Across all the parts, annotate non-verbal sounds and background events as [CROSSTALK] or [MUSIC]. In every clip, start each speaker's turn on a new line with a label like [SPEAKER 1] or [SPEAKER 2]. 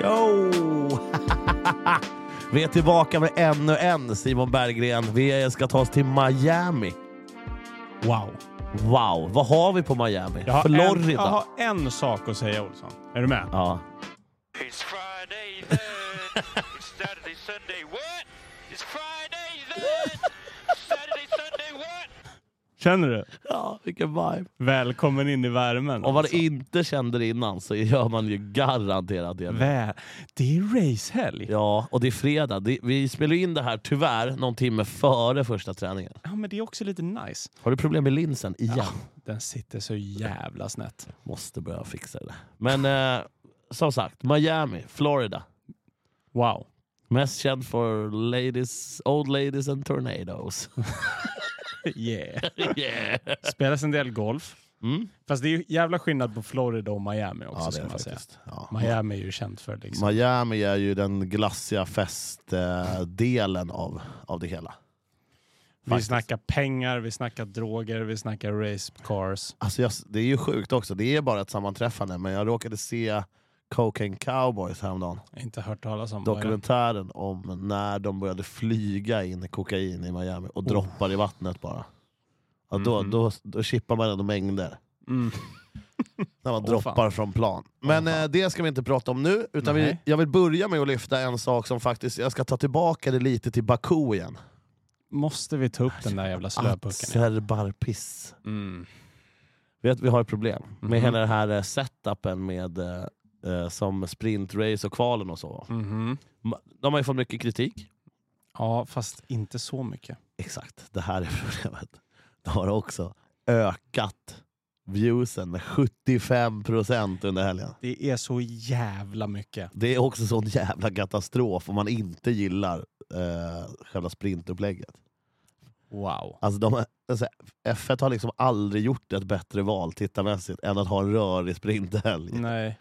[SPEAKER 1] Show! [LAUGHS] Vi är tillbaka med ännu en Simon Berggren. Vi ska ta oss till Miami.
[SPEAKER 2] Wow.
[SPEAKER 1] Wow, vad har vi på Miami?
[SPEAKER 2] Jag har, en,
[SPEAKER 1] Florida.
[SPEAKER 2] jag har en sak att säga Olsson. Är du med?
[SPEAKER 1] Ja.
[SPEAKER 3] It's Friday then. it's Saturday, Sunday, what? It's Friday then. Saturday, Sunday, what?
[SPEAKER 2] Känner du?
[SPEAKER 1] ja, vilken vibe.
[SPEAKER 2] Välkommen in i värmen.
[SPEAKER 1] Om man
[SPEAKER 2] alltså.
[SPEAKER 1] inte kände det innan så gör man ju garanterat det. nu.
[SPEAKER 2] Vä- det är racehelg. Ja.
[SPEAKER 1] Ja, och det är fredag. Det, vi spelar ju in det här tyvärr någon timme före första träningen.
[SPEAKER 2] men det är också lite nice.
[SPEAKER 1] Har du problem med linsen igen?
[SPEAKER 2] Den sitter så jävla snett.
[SPEAKER 1] Måste börja fixa det. Men eh, som sagt, Miami, Florida.
[SPEAKER 2] Wow.
[SPEAKER 1] Mest känd för ladies, old ladies and tornadoes.
[SPEAKER 2] [LAUGHS] Yeah.
[SPEAKER 1] yeah.
[SPEAKER 2] Spelas en del golf.
[SPEAKER 1] Mm.
[SPEAKER 2] Fast det är ju jävla skillnad på Florida och Miami också ska man säga. Miami är ju känt för liksom.
[SPEAKER 1] Miami är ju den glassiga festdelen av, av det hela.
[SPEAKER 2] vi
[SPEAKER 1] faktiskt.
[SPEAKER 2] snackar pengar, vi snackar droger, vi snackar race cars.
[SPEAKER 1] Alltså jag, det är ju sjukt också, det är bara ett sammanträffande, men jag råkade se Cocaine Cowboys häromdagen.
[SPEAKER 2] Jag har inte hört talas om. vad är det?
[SPEAKER 1] Dokumentären om när de började flyga in kokain i Miami
[SPEAKER 2] Oh.
[SPEAKER 1] och droppar i vattnet bara. Ja, då, då, då chippar man ändå mängder.
[SPEAKER 2] Mhm. Mm.
[SPEAKER 1] [LAUGHS] När man
[SPEAKER 2] Åh,
[SPEAKER 1] droppar
[SPEAKER 2] fan.
[SPEAKER 1] från plan. Men eh, det ska vi inte prata om nu, utan vi,
[SPEAKER 2] Nej.
[SPEAKER 1] jag vill börja med att lyfta en sak som faktiskt, jag ska ta tillbaka det lite till Baku igen.
[SPEAKER 2] Måste vi ta upp den där
[SPEAKER 1] Alltså,
[SPEAKER 2] jävla Ah, slöpucken? igen?
[SPEAKER 1] Azerbarpiss.
[SPEAKER 2] Mm.
[SPEAKER 1] vet, vi har ett problem
[SPEAKER 2] Mhm.
[SPEAKER 1] med hela den här eh, setupen med eh, eh, som sprintrace och kvalen och så.
[SPEAKER 2] Mhm.
[SPEAKER 1] Ma- De har ju fått mycket kritik.
[SPEAKER 2] Ja, fast inte så mycket.
[SPEAKER 1] Exakt, det här är [LAUGHS] problemet. De har också ökat viewsen med 75% under helgen.
[SPEAKER 2] Det är så jävla mycket.
[SPEAKER 1] Det är också sån jävla katastrof om man inte gillar eh, själva sprintupplägget.
[SPEAKER 2] Wow.
[SPEAKER 1] Alltså de, alltså F1 har liksom aldrig gjort ett bättre val tittarmässigt än att ha en rörig sprinthelg.
[SPEAKER 2] Nej.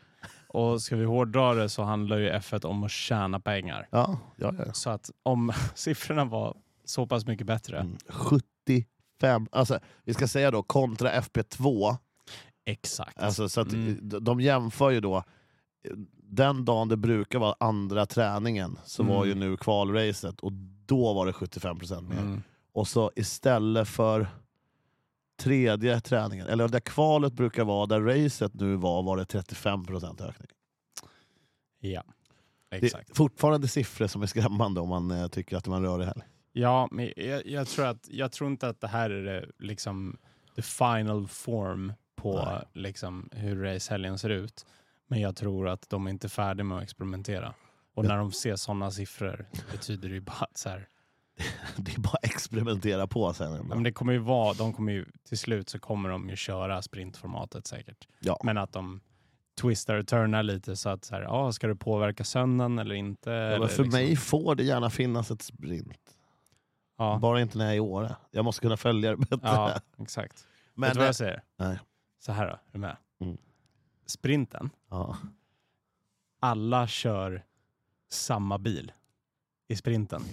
[SPEAKER 2] Och ska vi hårdra det så handlar ju F1 om att tjäna pengar.
[SPEAKER 1] Ja, ja, ja.
[SPEAKER 2] Så att om [LAUGHS] siffrorna var så pass mycket bättre.
[SPEAKER 1] Mm. 75, alltså vi ska säga då kontra FP2,
[SPEAKER 2] Exakt.
[SPEAKER 1] alltså, så att
[SPEAKER 2] Mm.
[SPEAKER 1] d- de jämför ju då, eh, den dagen det brukar vara andra träningen så var
[SPEAKER 2] Mm.
[SPEAKER 1] ju nu kvalracet och då var det 75% mer.
[SPEAKER 2] Mm.
[SPEAKER 1] Och så istället för tredje träningen, eller där kvalet brukar vara, där racet nu var, var det 35% ökning.
[SPEAKER 2] Ja.
[SPEAKER 1] Det
[SPEAKER 2] Exakt.
[SPEAKER 1] är fortfarande siffror som är skrämmande om man eh, tycker att man rör det här.
[SPEAKER 2] Ja, men jag, jag, tror att, jag tror inte att det här är det, liksom, the final form på
[SPEAKER 1] Nej.
[SPEAKER 2] liksom, hur racehelgen ser ut. Men jag tror att de är inte är färdiga med att experimentera. Och
[SPEAKER 1] Ja.
[SPEAKER 2] när de ser sådana siffror betyder det ju bara att så här,
[SPEAKER 1] [LAUGHS] Det är bara att experimentera på sen.
[SPEAKER 2] ja, men det kommer ju vara, de kommer ju, till slut så kommer de ju köra sprintformatet säkert.
[SPEAKER 1] Ja.
[SPEAKER 2] Men att de twistar och turnar lite så att så här, ah, ska det påverka söndagen eller inte?
[SPEAKER 1] Ja,
[SPEAKER 2] eller
[SPEAKER 1] men för
[SPEAKER 2] liksom-
[SPEAKER 1] mig får det gärna finnas ett sprint.
[SPEAKER 2] Ja,
[SPEAKER 1] Bara inte när jag är i Åre. Jag måste kunna följa det bättre.
[SPEAKER 2] ja exakt.
[SPEAKER 1] [LAUGHS] Men,
[SPEAKER 2] Men, Vet
[SPEAKER 1] eh,
[SPEAKER 2] du vad jag säger?
[SPEAKER 1] nej.
[SPEAKER 2] Så här då, är du med?
[SPEAKER 1] Mm.
[SPEAKER 2] Sprinten,
[SPEAKER 1] ja.
[SPEAKER 2] alla kör samma bil i sprinten.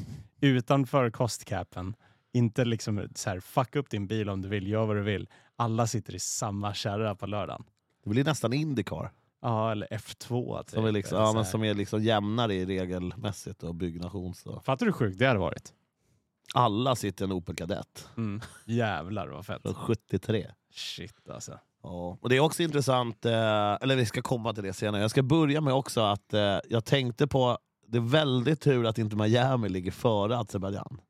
[SPEAKER 2] Utanför kostcapen. Inte liksom så här, fuck upp din bil om du vill, gör vad du vill. Alla sitter i samma kärra på lördagen.
[SPEAKER 1] Det blir nästan Indycar.
[SPEAKER 2] Ja, eller F2 typ.
[SPEAKER 1] Som är, liksom,
[SPEAKER 2] eller
[SPEAKER 1] ja,
[SPEAKER 2] så
[SPEAKER 1] men
[SPEAKER 2] här.
[SPEAKER 1] som är liksom jämnare i regelmässigt och byggnations... Och.
[SPEAKER 2] Fattar du hur sjukt det hade varit?
[SPEAKER 1] Alla sitter i en Opel Kadett
[SPEAKER 2] Mm. Jävlar vad fett.
[SPEAKER 1] från 73.
[SPEAKER 2] Shit alltså.
[SPEAKER 1] Ja. Och det är också intressant, eh, eller vi ska komma till det senare. Jag ska börja med också att eh, jag tänkte på, det är väldigt tur att inte Miami ligger före Azerbajdzjan.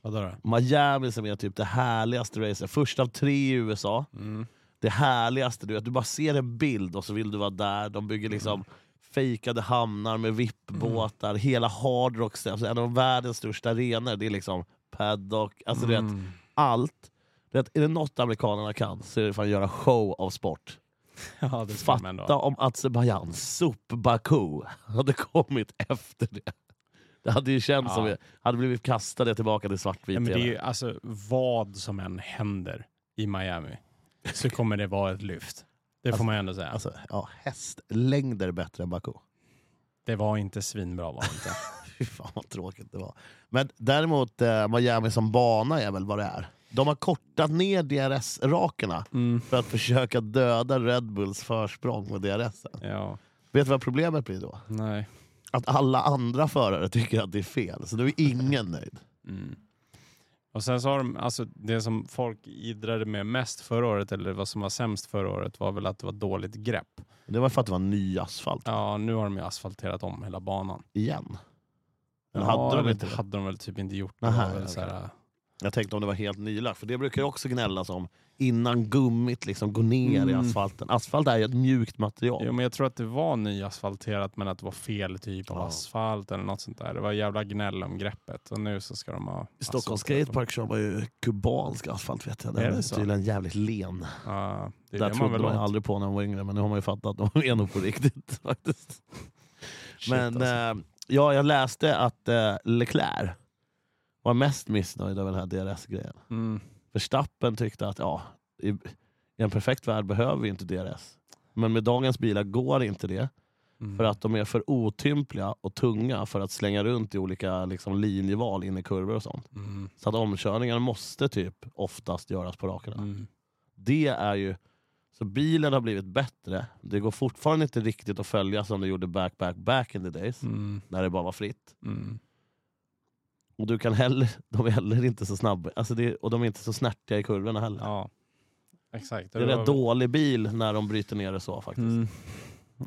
[SPEAKER 2] Vadå då?
[SPEAKER 1] Miami som är typ det härligaste racet, först av tre i USA.
[SPEAKER 2] Mm.
[SPEAKER 1] det härligaste. Du, vet, du bara ser en bild och så vill du vara där. De bygger liksom fejkade hamnar med vippbåtar. Hela Hard Rock Steps, en av världens största arenor. Det är liksom paddock, alltså
[SPEAKER 2] Mm.
[SPEAKER 1] du vet, allt. Du vet, är det något amerikanerna kan så är det fan göra show av sport.
[SPEAKER 2] Ja, det ska man
[SPEAKER 1] Fatta
[SPEAKER 2] ändå.
[SPEAKER 1] om Azerbajdzjan, Sop-Baku, hade kommit efter det. Det hade ju känts
[SPEAKER 2] Ja.
[SPEAKER 1] som vi hade blivit kastade tillbaka till svartvit
[SPEAKER 2] Ja, men det är
[SPEAKER 1] TV.
[SPEAKER 2] ju, alltså, vad som än händer i Miami så kommer det vara ett lyft. Det får man ju ändå säga.
[SPEAKER 1] Alltså, ja, hästlängder bättre än Baku.
[SPEAKER 2] Det var inte svinbra var det [LAUGHS] inte.
[SPEAKER 1] [LAUGHS] Fy fan vad tråkigt det var. Men däremot eh, Miami som bana är väl vad det är. De har kortat ner
[SPEAKER 2] Mm.
[SPEAKER 1] DRS-rakerna för att försöka döda Red Bulls försprång med DRS.
[SPEAKER 2] Ja.
[SPEAKER 1] Vet du vad problemet blir då?
[SPEAKER 2] Nej.
[SPEAKER 1] Att alla andra förare tycker att det är fel, så då är ingen nöjd.
[SPEAKER 2] Mm. Och sen så har de, alltså det som folk idrade med mest förra året, eller vad som var sämst förra året, var väl att det var dåligt grepp.
[SPEAKER 1] Det var för att det var ny asfalt
[SPEAKER 2] Ja, nu har de ju asfalterat om hela banan.
[SPEAKER 1] igen. Men
[SPEAKER 2] ja,
[SPEAKER 1] hade de
[SPEAKER 2] eller
[SPEAKER 1] inte
[SPEAKER 2] det
[SPEAKER 1] det?
[SPEAKER 2] hade de väl typ inte gjort.
[SPEAKER 1] Aha,
[SPEAKER 2] det var väl
[SPEAKER 1] okej.
[SPEAKER 2] så här,
[SPEAKER 1] Jag tänkte om det var helt nylagt, för det brukar ju också gnällas om innan gummit liksom går ner i
[SPEAKER 2] Mm.
[SPEAKER 1] asfalten. Asfalt är ju ett mjukt material.
[SPEAKER 2] Jo, men jag tror att det var nyasfalterat men att det var fel typ av
[SPEAKER 1] Ja.
[SPEAKER 2] asfalt eller något sånt där. Det var jävla gnäll om greppet och nu så ska de ha...
[SPEAKER 1] I Stockholms
[SPEAKER 2] asfalterat dem.
[SPEAKER 1] skatepark kör man ju kubansk asfalt vet jag. Den
[SPEAKER 2] Alltså, Är
[SPEAKER 1] är,
[SPEAKER 2] det så?
[SPEAKER 1] tydligen jävligt len.
[SPEAKER 2] Ja, det
[SPEAKER 1] Där
[SPEAKER 2] är det man
[SPEAKER 1] trodde
[SPEAKER 2] vill
[SPEAKER 1] man ju
[SPEAKER 2] åt.
[SPEAKER 1] aldrig på när man var yngre, men nu har man ju fattat [LAUGHS] att de är nog på riktigt. [LAUGHS] faktiskt.
[SPEAKER 2] Shit,
[SPEAKER 1] Men
[SPEAKER 2] alltså.
[SPEAKER 1] eh, ja, jag läste att eh, Leclerc var mest missnöjd över den här DRS-grejen.
[SPEAKER 2] mm.
[SPEAKER 1] Verstappen tyckte att ja, i, i en perfekt värld behöver vi inte DRS. Men med dagens bilar går inte det.
[SPEAKER 2] Mm.
[SPEAKER 1] För att de är för otympliga och tunga för att slänga runt i olika liksom, linjeval in i kurvor och sånt.
[SPEAKER 2] Mm.
[SPEAKER 1] Så att omkörningarna måste typ oftast göras på rakarna.
[SPEAKER 2] Mm.
[SPEAKER 1] Det är ju... Så bilen har blivit bättre. Det går fortfarande inte riktigt att följa som det gjorde back, back, back in the days.
[SPEAKER 2] Mm.
[SPEAKER 1] När det bara var fritt.
[SPEAKER 2] Mm.
[SPEAKER 1] Och du kan heller, de är heller inte så snabba. Alltså det, och de är inte så snärtiga i kurvorna heller.
[SPEAKER 2] Ja, exakt.
[SPEAKER 1] Det
[SPEAKER 2] Och
[SPEAKER 1] är en
[SPEAKER 2] var-
[SPEAKER 1] rätt dålig bil när de bryter ner det så faktiskt.
[SPEAKER 2] Mm.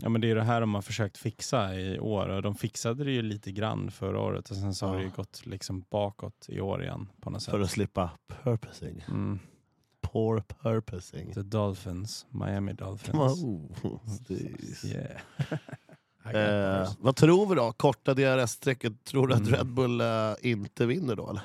[SPEAKER 2] Ja, men det är det här de har försökt fixa i år och de fixade det ju lite grann förra året och sen så har det ju
[SPEAKER 1] Ja.
[SPEAKER 2] gått liksom bakåt i år igen på något sätt.
[SPEAKER 1] För att slippa purposing.
[SPEAKER 2] Mm.
[SPEAKER 1] Poor purposing.
[SPEAKER 2] The Dolphins, Miami Dolphins.
[SPEAKER 1] Oh, det är- [LAUGHS]
[SPEAKER 2] Yeah. [LAUGHS]
[SPEAKER 1] Eh, vad tror vi då? Korta DRS-strecket. Tror du att
[SPEAKER 2] Mm.
[SPEAKER 1] Red Bull eh, inte vinner då? Eller?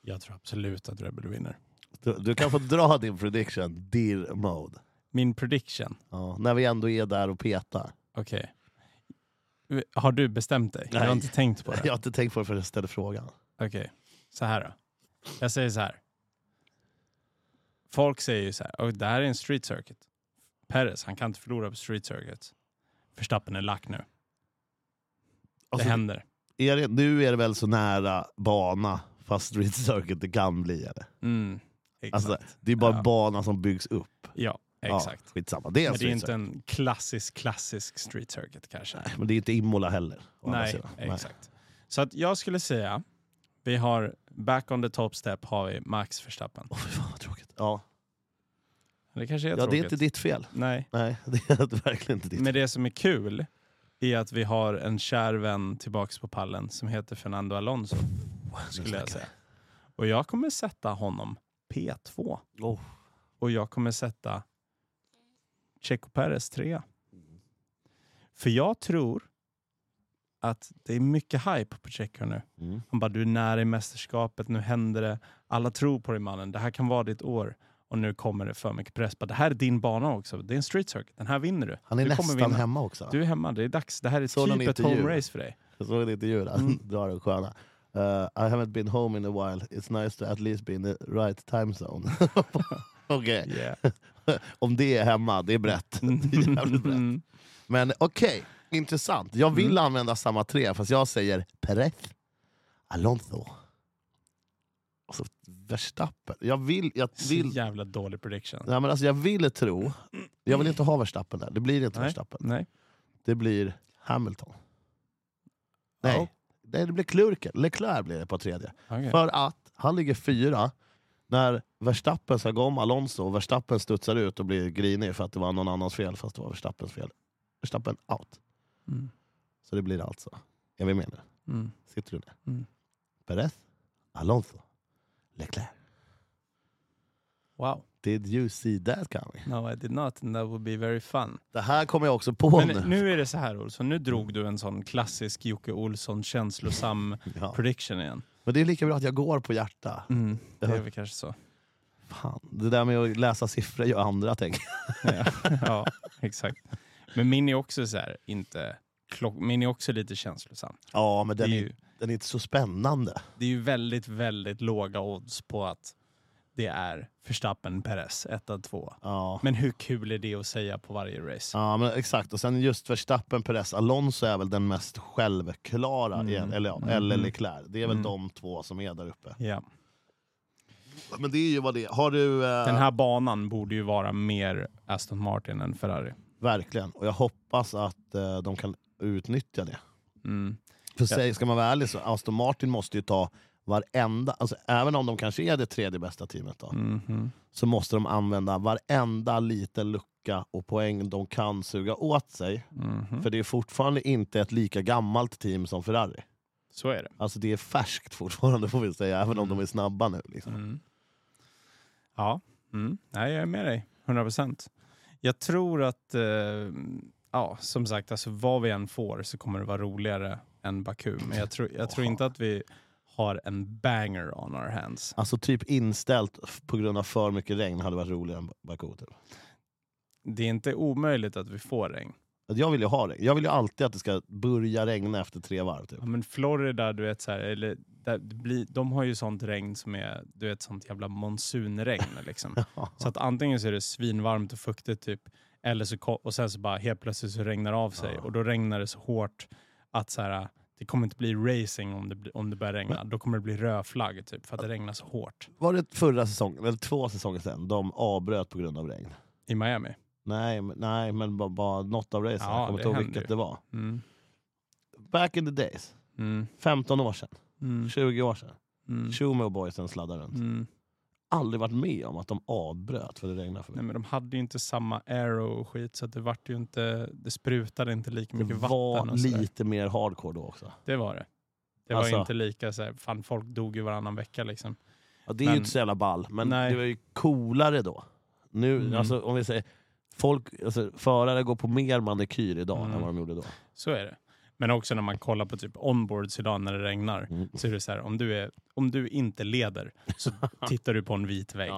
[SPEAKER 2] Jag tror absolut att Red Bull vinner.
[SPEAKER 1] Du, du kan få dra din prediction, Dear Mode.
[SPEAKER 2] Min prediction,
[SPEAKER 1] Ja, när vi ändå är där och petar.
[SPEAKER 2] okej. Har du bestämt dig? Jag har
[SPEAKER 1] Nej.
[SPEAKER 2] inte
[SPEAKER 1] [LAUGHS]
[SPEAKER 2] tänkt på det.
[SPEAKER 1] Jag har inte tänkt på det förrän jag ställde frågan.
[SPEAKER 2] Okej, så här då. Jag säger så här. Folk säger ju så här, och det här är en street circuit. Perez, han kan inte förlora på street circuit. Förstappen är lack nu.
[SPEAKER 1] Alltså,
[SPEAKER 2] det händer.
[SPEAKER 1] är det, nu är det väl så nära bana, fast street circuit det kan bli. Eller?
[SPEAKER 2] Mm, exakt.
[SPEAKER 1] Alltså, det är bara
[SPEAKER 2] Ja.
[SPEAKER 1] bana som byggs upp.
[SPEAKER 2] ja,
[SPEAKER 1] Ja,
[SPEAKER 2] exakt.
[SPEAKER 1] skitsamma, det är en
[SPEAKER 2] Men det är
[SPEAKER 1] street
[SPEAKER 2] inte
[SPEAKER 1] circuit.
[SPEAKER 2] en klassisk, klassisk street circuit kanske.
[SPEAKER 1] Nej, Men det är inte Imola heller. å andra
[SPEAKER 2] Nej,
[SPEAKER 1] sidan.
[SPEAKER 2] exakt. Så att jag skulle säga, vi har back on the top step har vi Max Verstappen.
[SPEAKER 1] Åh, fy fan vad tråkigt. Ja.
[SPEAKER 2] Det kanske är
[SPEAKER 1] ja, det är
[SPEAKER 2] tråkigt.
[SPEAKER 1] inte ditt fel.
[SPEAKER 2] Nej.
[SPEAKER 1] Nej, [LAUGHS] det är verkligen inte ditt
[SPEAKER 2] Men det som är kul är att vi har en kär vän tillbaks på pallen som heter Fernando Alonso, skulle jag säga. Och jag kommer sätta honom P2
[SPEAKER 1] Oh.
[SPEAKER 2] och jag kommer sätta Checo Perez 3. För jag tror att det är mycket hype på Checo nu.
[SPEAKER 1] Mm.
[SPEAKER 2] Han bara, du är nära i mästerskapet, nu händer det. Alla tror på dig mannen, det här kan vara ditt år. Och nu kommer det för mycket press. Bara, det här är din bana också, det är en street circuit, den här vinner du.
[SPEAKER 1] Han är
[SPEAKER 2] du kommer
[SPEAKER 1] nästan
[SPEAKER 2] vinna.
[SPEAKER 1] hemma också.
[SPEAKER 2] Du är hemma, det är dags. Det här är
[SPEAKER 1] Såg någon
[SPEAKER 2] typ ett
[SPEAKER 1] intervju?
[SPEAKER 2] home race
[SPEAKER 1] [LAUGHS]
[SPEAKER 2] för dig.
[SPEAKER 1] Jag såg en intervju där,
[SPEAKER 2] Mm.
[SPEAKER 1] [LAUGHS] drar den sköna. Eh, I haven't been home in a while, it's nice to at least be in the right time zone. [LAUGHS] okej,
[SPEAKER 2] Yeah.
[SPEAKER 1] om det är hemma, det är brett. Det är jävligt brett.
[SPEAKER 2] Mm.
[SPEAKER 1] Men okej, intressant. Jag vill
[SPEAKER 2] Mm.
[SPEAKER 1] använda samma tre, fast jag säger Perez, Alonso. Och så Verstappen. Jag vill, jag
[SPEAKER 2] [LAUGHS] Så
[SPEAKER 1] vill,
[SPEAKER 2] jävla dålig prediction.
[SPEAKER 1] nej, men alltså jag vill tro, jag vill inte ha Verstappen där. Det blir inte
[SPEAKER 2] Nej.
[SPEAKER 1] Verstappen.
[SPEAKER 2] Nej.
[SPEAKER 1] Det blir Hamilton. Nej,
[SPEAKER 2] Ja,
[SPEAKER 1] nej det blir Klurken. Leclerc blir det på tredje.
[SPEAKER 2] okej.
[SPEAKER 1] För att han ligger fyra när Verstappen ska gå om Alonso och Verstappen studsar ut och blir grinig för att det var någon annans fel fast det var Verstappens fel. Verstappen out.
[SPEAKER 2] Mm.
[SPEAKER 1] Så det blir alltså. Är vi med nu?
[SPEAKER 2] Mm.
[SPEAKER 1] Sitter du ner?
[SPEAKER 2] Mm.
[SPEAKER 1] Perez, Alonso, Leclerc.
[SPEAKER 2] Wow,
[SPEAKER 1] Did you see that coming?
[SPEAKER 2] no I did not and that would be very fun.
[SPEAKER 1] Det här kommer jag också på nu.
[SPEAKER 2] Men nu är det så här Olsson, nu drog du en sån klassisk Jocke Olsson känslosam
[SPEAKER 1] [LAUGHS] Ja.
[SPEAKER 2] prediction igen.
[SPEAKER 1] Men det är lika bra att jag går på hjärta.
[SPEAKER 2] Mm. Det
[SPEAKER 1] Ja.
[SPEAKER 2] är väl kanske så. [LAUGHS]
[SPEAKER 1] Fan. Det där med att läsa siffror gör andra tänker jag.
[SPEAKER 2] Ja, ja exakt. Men min är också så här, inte klock... min är också lite känslosam.
[SPEAKER 1] Ja, men
[SPEAKER 2] Det är
[SPEAKER 1] den är,
[SPEAKER 2] ju,
[SPEAKER 1] den är inte så spännande.
[SPEAKER 2] det är ju väldigt, väldigt låga odds på att det är Verstappen, Perez, 1 två.
[SPEAKER 1] Ja.
[SPEAKER 2] Men hur kul är det att säga på varje race?
[SPEAKER 1] Ja men exakt, och sen just Verstappen, Perez, Alonso är väl den mest självklara,
[SPEAKER 2] Mm.
[SPEAKER 1] igen, eller, ja,
[SPEAKER 2] Mm.
[SPEAKER 1] eller Leclerc. Det är väl
[SPEAKER 2] Mm.
[SPEAKER 1] de två som är där uppe.
[SPEAKER 2] Ja.
[SPEAKER 1] Men det är ju vad det är. Har du... eh,
[SPEAKER 2] Den här banan borde ju vara mer Aston Martin än Ferrari.
[SPEAKER 1] Verkligen. Och jag hoppas att eh, de kan utnyttja det.
[SPEAKER 2] Mm.
[SPEAKER 1] För sig, ska man vara ärlig så Aston Martin måste ju ta varenda, alltså även om de kanske är det tredje bästa teamet då,
[SPEAKER 2] Mhm.
[SPEAKER 1] så måste de använda varenda liten lucka och poäng de kan suga åt sig.
[SPEAKER 2] Mhm.
[SPEAKER 1] För det är fortfarande inte ett lika gammalt team som Ferrari.
[SPEAKER 2] Så är det.
[SPEAKER 1] Alltså det är färskt fortfarande får vi säga, även om de är snabba nu. Liksom.
[SPEAKER 2] Mm. Ja, mm. Nej, jag är med dig. 100 procent. Jag tror att, eh, ja, som sagt, alltså, vad vi än får så kommer det vara roligare än Baku. Men jag tror, jag tror inte att vi har en banger on our hands.
[SPEAKER 1] Alltså typ inställt f- på grund av för mycket regn hade varit roligare än Baku. Typ.
[SPEAKER 2] Det är inte omöjligt att vi får regn.
[SPEAKER 1] Att Jag vill ju ha regn. Jag vill ju alltid att det ska börja regna efter tre varv. Typ. [LAUGHS]
[SPEAKER 2] Ja, men Florida, du vet, så här, eller, där, det blir, de har ju sånt regn som är du vet, sånt jävla monsunregn.
[SPEAKER 1] [LAUGHS]
[SPEAKER 2] Liksom. Så att antingen så är det svinvarmt och fuktigt typ, eller så, ko- och sen så bara helt plötsligt så regnar det av sig och då regnar det så hårt att så här, det kommer inte bli racing om det, bli, om det börjar regna. Då kommer det bli rödflagg typ, för att det regnar så hårt
[SPEAKER 1] Var det förra säsongen, eller två säsonger sedan, de avbröt på grund av regn?
[SPEAKER 2] i Miami.
[SPEAKER 1] Nej, men, nej, men bara, bara något av racen.
[SPEAKER 2] Ja,
[SPEAKER 1] jag kommer
[SPEAKER 2] det
[SPEAKER 1] inte ihåg
[SPEAKER 2] händer
[SPEAKER 1] vilket
[SPEAKER 2] ju.
[SPEAKER 1] det var.
[SPEAKER 2] Mm.
[SPEAKER 1] Back in the days,
[SPEAKER 2] Mm.
[SPEAKER 1] 15 år sedan,
[SPEAKER 2] Mm.
[SPEAKER 1] 20 år sedan.
[SPEAKER 2] Mm.
[SPEAKER 1] Tjomme och boysen sladdade runt.
[SPEAKER 2] Mm.
[SPEAKER 1] Aldrig varit med om att de avbröt för det regnade för
[SPEAKER 2] Nej,
[SPEAKER 1] mycket.
[SPEAKER 2] men de hade ju inte samma aero och skit så att det, vart ju inte, det sprutade inte lika
[SPEAKER 1] det
[SPEAKER 2] mycket
[SPEAKER 1] var
[SPEAKER 2] vatten. Och så där.
[SPEAKER 1] lite mer hardcore då också.
[SPEAKER 2] Det var det. Det
[SPEAKER 1] Alltså-
[SPEAKER 2] var inte lika så här, fan folk dog ju varannan vecka liksom.
[SPEAKER 1] Ja, det är
[SPEAKER 2] Men-
[SPEAKER 1] ju inte så jävla ball, men
[SPEAKER 2] Nej.
[SPEAKER 1] det var ju coolare då. Nu,
[SPEAKER 2] Mm.
[SPEAKER 1] alltså, om vi säger, folk, alltså, förare går på mer manikyr idag
[SPEAKER 2] Mm.
[SPEAKER 1] än vad de gjorde då.
[SPEAKER 2] Så är det. Men också när man kollar på typ onboards idag när det regnar.
[SPEAKER 1] Mm.
[SPEAKER 2] Så är det så här, om du, är, om du inte leder
[SPEAKER 1] [LAUGHS]
[SPEAKER 2] så tittar du på en vit vägg.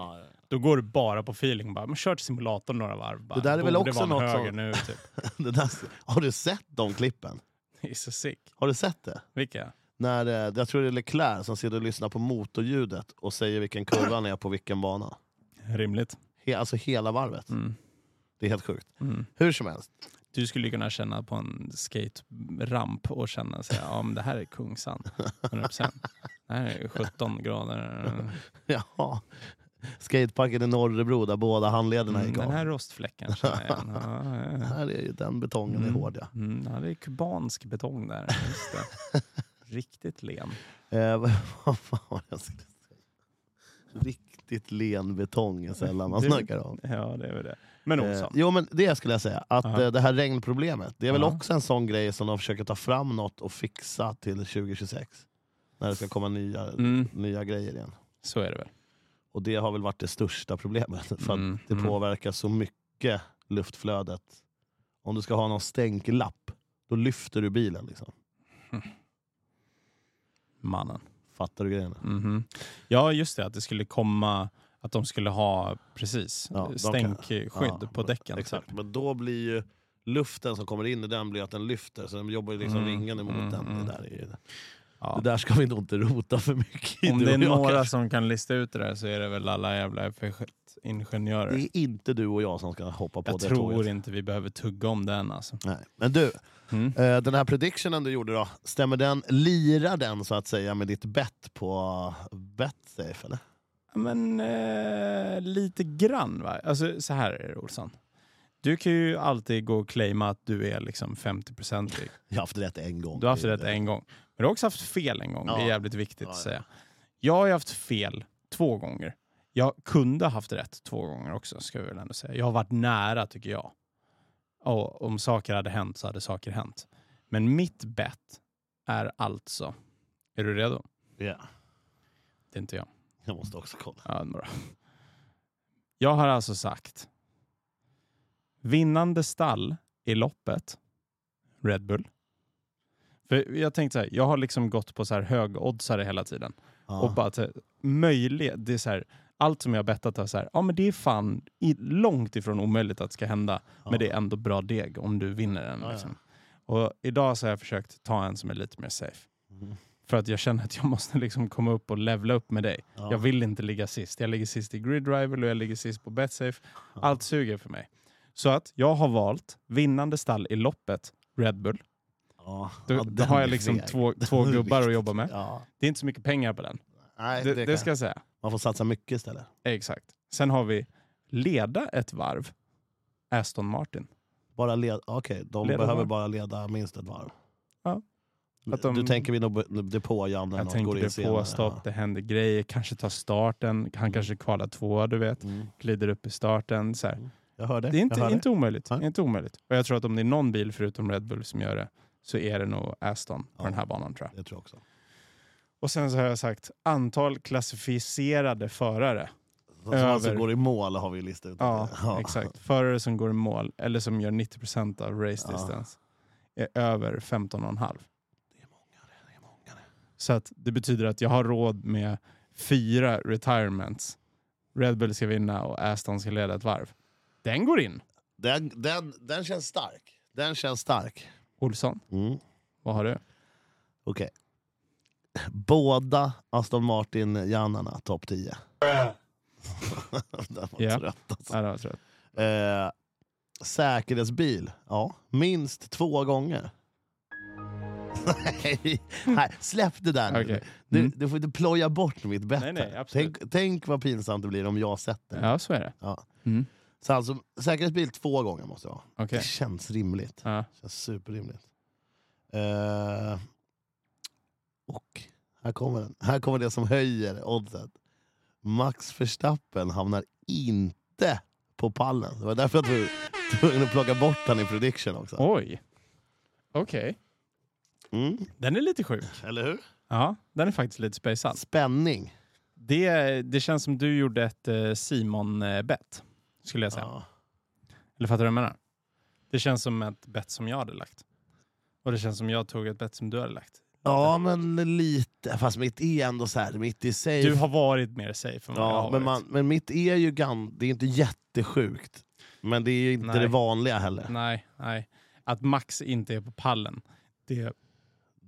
[SPEAKER 2] Då går du bara på feeling. Bara, men kör till simulatorn några varv. Bara,
[SPEAKER 1] Det där är väl
[SPEAKER 2] borde
[SPEAKER 1] också
[SPEAKER 2] vara en
[SPEAKER 1] något som-
[SPEAKER 2] höger nu. Typ. [LAUGHS]
[SPEAKER 1] [LAUGHS] Det där, har du sett de klippen?
[SPEAKER 2] Det är så sick.
[SPEAKER 1] Har du sett det?
[SPEAKER 2] Vilka?
[SPEAKER 1] När, eh, jag tror det är Leclerc som sitter och lyssnar på motorljudet och säger vilken kurva han är på vilken bana.
[SPEAKER 2] Rimligt.
[SPEAKER 1] He, alltså hela varvet.
[SPEAKER 2] Mm.
[SPEAKER 1] Det är helt sjukt.
[SPEAKER 2] Mm.
[SPEAKER 1] Hur som helst, [LAUGHS]
[SPEAKER 2] Du skulle ju kunna känna på en skate-ramp och känna så här, ja men det här
[SPEAKER 1] [LAUGHS]
[SPEAKER 2] är Kungsan. 100%. Det här är 17 grader.
[SPEAKER 1] jaha. Skateparken i Norrebro där båda handlederna
[SPEAKER 2] Mm,
[SPEAKER 1] gick av.
[SPEAKER 2] den här rostfläcken känner jag igen. Ja, ja, ja.
[SPEAKER 1] [LAUGHS] här är ju, den betongen är hård ja.
[SPEAKER 2] Mm, ja, det är kubansk betong där. Just det.
[SPEAKER 1] [LAUGHS]
[SPEAKER 2] Riktigt len.
[SPEAKER 1] Eh, [LAUGHS] vad vad fan var det jag skulle säga? Riktigt len betong är sällan man
[SPEAKER 2] Du-
[SPEAKER 1] snackar om.
[SPEAKER 2] Ja, det är väl det. Men
[SPEAKER 1] Eh,
[SPEAKER 2] Olsson.
[SPEAKER 1] jo men det skulle jag säga, att
[SPEAKER 2] Ja.
[SPEAKER 1] eh, det här regnproblemet, det är väl
[SPEAKER 2] Ja.
[SPEAKER 1] också en sån grej som de försöker ta fram något och fixa till 2026. När det ska komma nya,
[SPEAKER 2] Mm,
[SPEAKER 1] nya grejer igen.
[SPEAKER 2] så är det väl.
[SPEAKER 1] Och det har väl varit det största problemet, [LAUGHS] för att
[SPEAKER 2] Mm,
[SPEAKER 1] det
[SPEAKER 2] mm.
[SPEAKER 1] påverkar så mycket luftflödet. Om du ska ha någon stänklapp, då lyfter du bilen. Liksom.
[SPEAKER 2] Mannen.
[SPEAKER 1] Fattar du grejen?
[SPEAKER 2] Mhm. Ja, just det. Att det skulle komma... Att de skulle ha precis
[SPEAKER 1] Ja, de
[SPEAKER 2] stänkskydd
[SPEAKER 1] Ja,
[SPEAKER 2] på däcken. typ.
[SPEAKER 1] Exakt. Men då blir ju luften som kommer in i den blir att den lyfter, så den jobbar ju liksom
[SPEAKER 2] Mm,
[SPEAKER 1] vingen emot
[SPEAKER 2] mm,
[SPEAKER 1] den.
[SPEAKER 2] mm.
[SPEAKER 1] Det där, är ju,
[SPEAKER 2] Ja.
[SPEAKER 1] det där ska vi nog inte rota för mycket i.
[SPEAKER 2] Om
[SPEAKER 1] du
[SPEAKER 2] det är
[SPEAKER 1] och jag
[SPEAKER 2] några
[SPEAKER 1] kanske.
[SPEAKER 2] som kan lista ut det där så är det väl alla jävla effektingenjörer.
[SPEAKER 1] Det är inte du och jag som ska hoppa på
[SPEAKER 2] Jag
[SPEAKER 1] det
[SPEAKER 2] tror
[SPEAKER 1] tåget.
[SPEAKER 2] inte vi behöver tugga om den alltså.
[SPEAKER 1] Nej. Men du,
[SPEAKER 2] Mm.
[SPEAKER 1] eh, den här predictionen du gjorde då, stämmer den, lirar den så att säga med ditt bett på Betsafe eller?
[SPEAKER 2] Ja, Men eh, lite grann va? Alltså så här är det Olsson. Du kan ju alltid gå och claima att du är liksom 50-procentig.
[SPEAKER 1] Jag har haft rätt en gång.
[SPEAKER 2] Du har haft rätt en gång. Men du har också haft fel en gång. Det är
[SPEAKER 1] Ja.
[SPEAKER 2] jävligt viktigt
[SPEAKER 1] Ja,
[SPEAKER 2] att
[SPEAKER 1] ja.
[SPEAKER 2] säga. Jag har ju haft fel två gånger. Jag kunde ha haft rätt två gånger också, ska jag väl ändå säga. Jag har varit nära, tycker jag. Och om saker hade hänt så hade saker hänt. Men mitt bett är alltså... Är du redo?
[SPEAKER 1] Ja,
[SPEAKER 2] Det är inte jag.
[SPEAKER 1] jag måste också kolla.
[SPEAKER 2] Ja, det är bra. Jag har alltså sagt vinnande stall i loppet, Red Bull. För jag tänkte så här, jag har liksom gått på så här högoddsare hela tiden.
[SPEAKER 1] Ja.
[SPEAKER 2] Och bara att eh, möjligt, det är så här, allt som jag har bettat har så här, ja men det är fan i, långt ifrån omöjligt att det ska hända. Men det är ändå bra deg om du vinner den.
[SPEAKER 1] Ja, ja.
[SPEAKER 2] Liksom. Och idag så har jag försökt ta en som är lite mer safe.
[SPEAKER 1] Mm.
[SPEAKER 2] För att jag känner att jag måste liksom komma upp och levla upp med dig.
[SPEAKER 1] Ja.
[SPEAKER 2] Jag vill inte ligga sist. Jag ligger sist i Grid Rival och jag ligger sist på Betsafe. Allt suger för mig. Så att jag har valt vinnande stall i loppet, Red Bull.
[SPEAKER 1] Ja.
[SPEAKER 2] Då,
[SPEAKER 1] Ja,
[SPEAKER 2] då
[SPEAKER 1] den
[SPEAKER 2] har
[SPEAKER 1] är
[SPEAKER 2] jag liksom
[SPEAKER 1] feg.
[SPEAKER 2] två, två
[SPEAKER 1] Den är
[SPEAKER 2] gubbar att
[SPEAKER 1] viktig.
[SPEAKER 2] jobba med.
[SPEAKER 1] Ja.
[SPEAKER 2] Det är inte så mycket pengar på den.
[SPEAKER 1] Nej,
[SPEAKER 2] Det,
[SPEAKER 1] det,
[SPEAKER 2] det
[SPEAKER 1] kan-
[SPEAKER 2] ska jag säga.
[SPEAKER 1] Man får satsa mycket istället.
[SPEAKER 2] Exakt. Sen har vi leda ett varv, Aston Martin.
[SPEAKER 1] Bara led... Okej, de
[SPEAKER 2] Leda
[SPEAKER 1] behöver
[SPEAKER 2] varv.
[SPEAKER 1] bara leda minst ett varv.
[SPEAKER 2] Ja. Att de-
[SPEAKER 1] Du tänker vid någon depåjamn eller
[SPEAKER 2] Jag
[SPEAKER 1] något, går in
[SPEAKER 2] tänkte det på
[SPEAKER 1] senare. Mm.
[SPEAKER 2] stopp, det händer grejer, kanske tar starten, han kanske kvalar två, du vet,
[SPEAKER 1] Ja. Mm.
[SPEAKER 2] glider upp i starten. Så här.
[SPEAKER 1] Jag hör det.
[SPEAKER 2] Det är inte,
[SPEAKER 1] jag hör
[SPEAKER 2] inte, omöjligt.
[SPEAKER 1] Nej.
[SPEAKER 2] inte omöjligt. Och jag tror att om det är någon bil förutom Red Bull som gör det så är det nog Aston på
[SPEAKER 1] Ja.
[SPEAKER 2] den här banan tror jag.
[SPEAKER 1] det. det tror jag också.
[SPEAKER 2] Och sen så har jag sagt antal klassificerade förare.
[SPEAKER 1] Som alltså
[SPEAKER 2] Över.
[SPEAKER 1] går i mål har vi ju listat ut.
[SPEAKER 2] Ja, exakt. Förare som går i mål eller som gör 90 av race
[SPEAKER 1] Ja.
[SPEAKER 2] distance är över 15,5.
[SPEAKER 1] Det är många det, det är många det.
[SPEAKER 2] Så att det betyder att jag har råd med fyra retirements. Red Bull ska vinna och Aston ska leda ett varv. Den går in.
[SPEAKER 1] Den, den, den känns stark. Den känns stark.
[SPEAKER 2] Olsson,
[SPEAKER 1] Mm.
[SPEAKER 2] vad har du?
[SPEAKER 1] Okej. Båda Aston Martin-hjärnorna topp 10. [LAUGHS] den var
[SPEAKER 2] Ja.
[SPEAKER 1] trött alltså.
[SPEAKER 2] Ja, det var trött.
[SPEAKER 1] Eh, säkerhetsbil, ja. Minst två gånger. [LAUGHS] nej, nej, släpp det där nu.
[SPEAKER 2] Okej.
[SPEAKER 1] Du,
[SPEAKER 2] Mm.
[SPEAKER 1] du får inte ploja bort mitt bett.
[SPEAKER 2] Nej, nej,
[SPEAKER 1] här.
[SPEAKER 2] absolut.
[SPEAKER 1] tänk, tänk vad pinsamt det blir om jag sätter det.
[SPEAKER 2] Ja, så är det.
[SPEAKER 1] Ja.
[SPEAKER 2] Mm.
[SPEAKER 1] Så alltså, säkerhetsbil två gånger måste jag ha.
[SPEAKER 2] Okej.
[SPEAKER 1] Det känns rimligt.
[SPEAKER 2] Ja.
[SPEAKER 1] känns superrimligt. Eh, och här kommer den. Här kommer det som höjer oddset. Max Verstappen hamnar inte på pallen. Det var därför jag var tvungen att plocka bort han i prediction också.
[SPEAKER 2] Oj. Okej.
[SPEAKER 1] Mm,
[SPEAKER 2] Den är lite sjuk.
[SPEAKER 1] eller hur?
[SPEAKER 2] Ja, den är faktiskt lite spejsad.
[SPEAKER 1] Spänning.
[SPEAKER 2] Det, det känns som du gjorde ett eh, Simon-bett, skulle jag säga.
[SPEAKER 1] Ja.
[SPEAKER 2] Eller fattar du vad jag menar? Det känns som ett bett som jag hade lagt. Och det känns som jag tog ett bett som du hade lagt.
[SPEAKER 1] ja, men lite. Fast mitt E är ändå så här, mitt i safe.
[SPEAKER 2] Du har varit mer safe än vad jag
[SPEAKER 1] ja,
[SPEAKER 2] har
[SPEAKER 1] men, man,
[SPEAKER 2] varit.
[SPEAKER 1] men mitt E är ju gan, det är inte jättesjukt. Men det är ju inte
[SPEAKER 2] Nej.
[SPEAKER 1] det vanliga heller.
[SPEAKER 2] Nej, nej. Att Max inte är på pallen, det,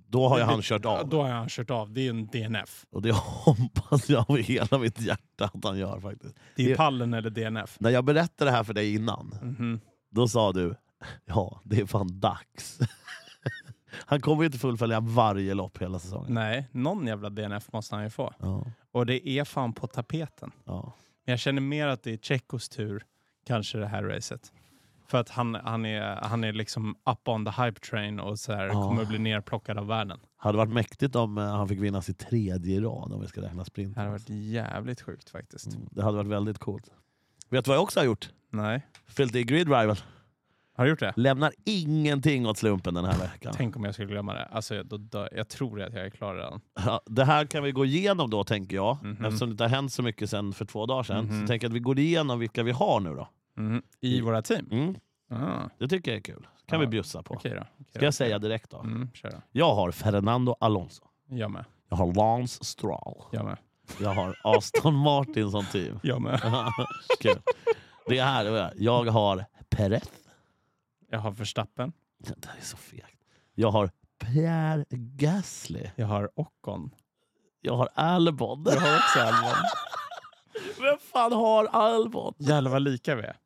[SPEAKER 1] Då har ju
[SPEAKER 2] Det-
[SPEAKER 1] han kört av.
[SPEAKER 2] då har han kört av. Det är en DNF.
[SPEAKER 1] Och det [LAUGHS] hoppas jag av hela mitt hjärta att han gör faktiskt.
[SPEAKER 2] Det
[SPEAKER 1] Det-
[SPEAKER 2] är pallen eller DNF.
[SPEAKER 1] När jag berättade det här för dig innan,
[SPEAKER 2] Mhm.
[SPEAKER 1] då sa du ja, det är fan dags. [LAUGHS] han kommer ju inte fullfölja varje lopp hela säsongen.
[SPEAKER 2] Nej, någon jävla DNF måste han ju få.
[SPEAKER 1] Ja,
[SPEAKER 2] Och det är fan på tapeten.
[SPEAKER 1] ja.
[SPEAKER 2] Men jag känner mer att det är Tjechos tur, kanske det här racet. För att han, han, är, han är liksom up on the hype train och så här,
[SPEAKER 1] Ja.
[SPEAKER 2] kommer att bli nerplockad av världen.
[SPEAKER 1] Hade varit mäktigt om eh, han fick vinna sin tredje rad om vi ska räkna sprint.
[SPEAKER 2] Det hade varit jävligt sjukt faktiskt.
[SPEAKER 1] Mm, Det hade varit väldigt coolt. Vet du vad jag också har gjort?
[SPEAKER 2] Nej.
[SPEAKER 1] Fyllt i Grid Rival.
[SPEAKER 2] Har du gjort det?
[SPEAKER 1] Lämnar ingenting åt slumpen den här veckan.
[SPEAKER 2] Tänk om jag skulle glömma det. Alltså, jag- då dör. jag tror att jag är klar redan.
[SPEAKER 1] Ja, det här kan vi gå igenom då, tänker jag.
[SPEAKER 2] Mhm.
[SPEAKER 1] Eftersom det inte har hänt så mycket sen för två dagar sedan.
[SPEAKER 2] Mhm.
[SPEAKER 1] Så tänker jag att vi går igenom vilka vi har nu då.
[SPEAKER 2] Mhm. I våra team?
[SPEAKER 1] Mm.
[SPEAKER 2] Ah,
[SPEAKER 1] Det tycker jag är kul. kan
[SPEAKER 2] Ja,
[SPEAKER 1] vi bjussa på.
[SPEAKER 2] Okej då. Okej
[SPEAKER 1] Ska
[SPEAKER 2] då.
[SPEAKER 1] jag säga direkt då?
[SPEAKER 2] Mm, kör då.
[SPEAKER 1] Jag har Fernando Alonso.
[SPEAKER 2] Jag med.
[SPEAKER 1] Jag har Lance Stroll.
[SPEAKER 2] Jag med.
[SPEAKER 1] Jag har Aston Martin som team.
[SPEAKER 2] Jag med.
[SPEAKER 1] kul. Det här, det var jag. jag har Perez.
[SPEAKER 2] Jag har Verstappen.
[SPEAKER 1] Det här är så fegt. Jag har Pierre Gasly.
[SPEAKER 2] Jag har Ockon.
[SPEAKER 1] Jag har Albon.
[SPEAKER 2] Jag har också Albon.
[SPEAKER 1] [LAUGHS] Vem fan har Albon?
[SPEAKER 2] Jävlar vad lika vi är.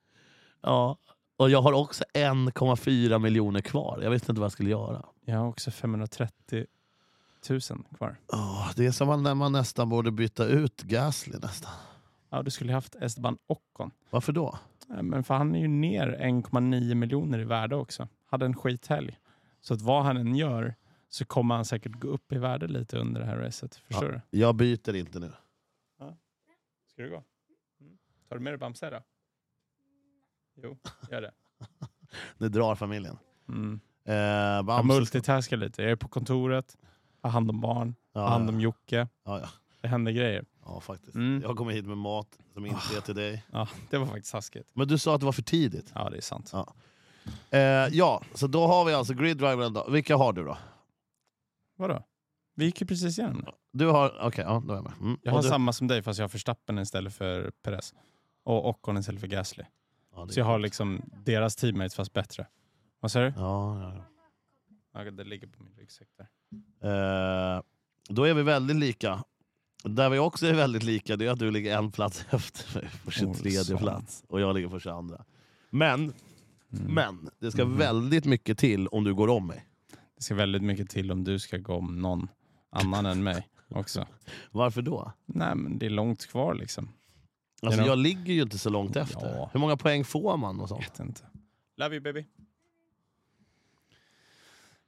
[SPEAKER 1] Ja. Och jag har också 1,4 miljoner kvar. Jag visste inte vad jag skulle göra.
[SPEAKER 2] Jag har också 530 000 kvar.
[SPEAKER 1] Åh, det är som när man nästan borde byta ut Gasly nästan.
[SPEAKER 2] Ja, du skulle haft Esteban Ocon.
[SPEAKER 1] Varför då?
[SPEAKER 2] Nej, Eh, Men för han är ju ner 1,9 miljoner i värde också. Hade en skithelg. Så att vad han än gör så kommer han säkert gå upp i värde lite under det här racet. Förstår du?
[SPEAKER 1] Jag byter inte nu.
[SPEAKER 2] Ska du gå? Mm. Tar du med dig Bamse då? Jo, gör det.
[SPEAKER 1] Nu drar familjen.
[SPEAKER 2] Mm.
[SPEAKER 1] Eh,
[SPEAKER 2] Jag
[SPEAKER 1] Bamse.
[SPEAKER 2] multitaskar lite. Jag är på kontoret, har hand om barn,
[SPEAKER 1] Ja,
[SPEAKER 2] har hand om Jocke.
[SPEAKER 1] ja, ja.
[SPEAKER 2] Det händer grejer.
[SPEAKER 1] ja, faktiskt.
[SPEAKER 2] Mm. Ah.
[SPEAKER 1] Jag kommer hit med mat som inte är till dig.
[SPEAKER 2] Ja, det var faktiskt taskigt.
[SPEAKER 1] Men du sa att det var för tidigt.
[SPEAKER 2] Ja, det är sant.
[SPEAKER 1] Eh, ja, så då har vi alltså grid driver en dag. Vilka har du då?
[SPEAKER 2] Vadå? Vi gick ju precis igenom det.
[SPEAKER 1] Du har... Okej, ja, då är jag med. Mm.
[SPEAKER 2] Jag
[SPEAKER 1] Och
[SPEAKER 2] har
[SPEAKER 1] du,
[SPEAKER 2] samma som dig fast jag har Verstappen istället för Perez. Och Ocon istället för Gasly.
[SPEAKER 1] ja, det är
[SPEAKER 2] Så jag har
[SPEAKER 1] coolt.
[SPEAKER 2] liksom deras teammates fast bättre. Vad säger du?
[SPEAKER 1] Ja, ja, ja.
[SPEAKER 2] Ja, det ligger på min ryggsäck där.
[SPEAKER 1] Eh, då är vi väldigt lika. Där vi också är väldigt lika det är att du ligger en plats [LAUGHS] efter mig på 23
[SPEAKER 2] Olsson.
[SPEAKER 1] plats och jag ligger på 22. Men,
[SPEAKER 2] Mm.
[SPEAKER 1] men det ska väldigt mycket till om du går om mig.
[SPEAKER 2] Det ska väldigt mycket till om du ska gå om någon annan än mig också.
[SPEAKER 1] Varför då?
[SPEAKER 2] Nej, men det är långt kvar liksom.
[SPEAKER 1] Alltså,
[SPEAKER 2] Genom-
[SPEAKER 1] jag ligger ju inte så långt efter.
[SPEAKER 2] Ja.
[SPEAKER 1] Hur många poäng får man? och sånt?
[SPEAKER 2] Vet inte. Love you baby.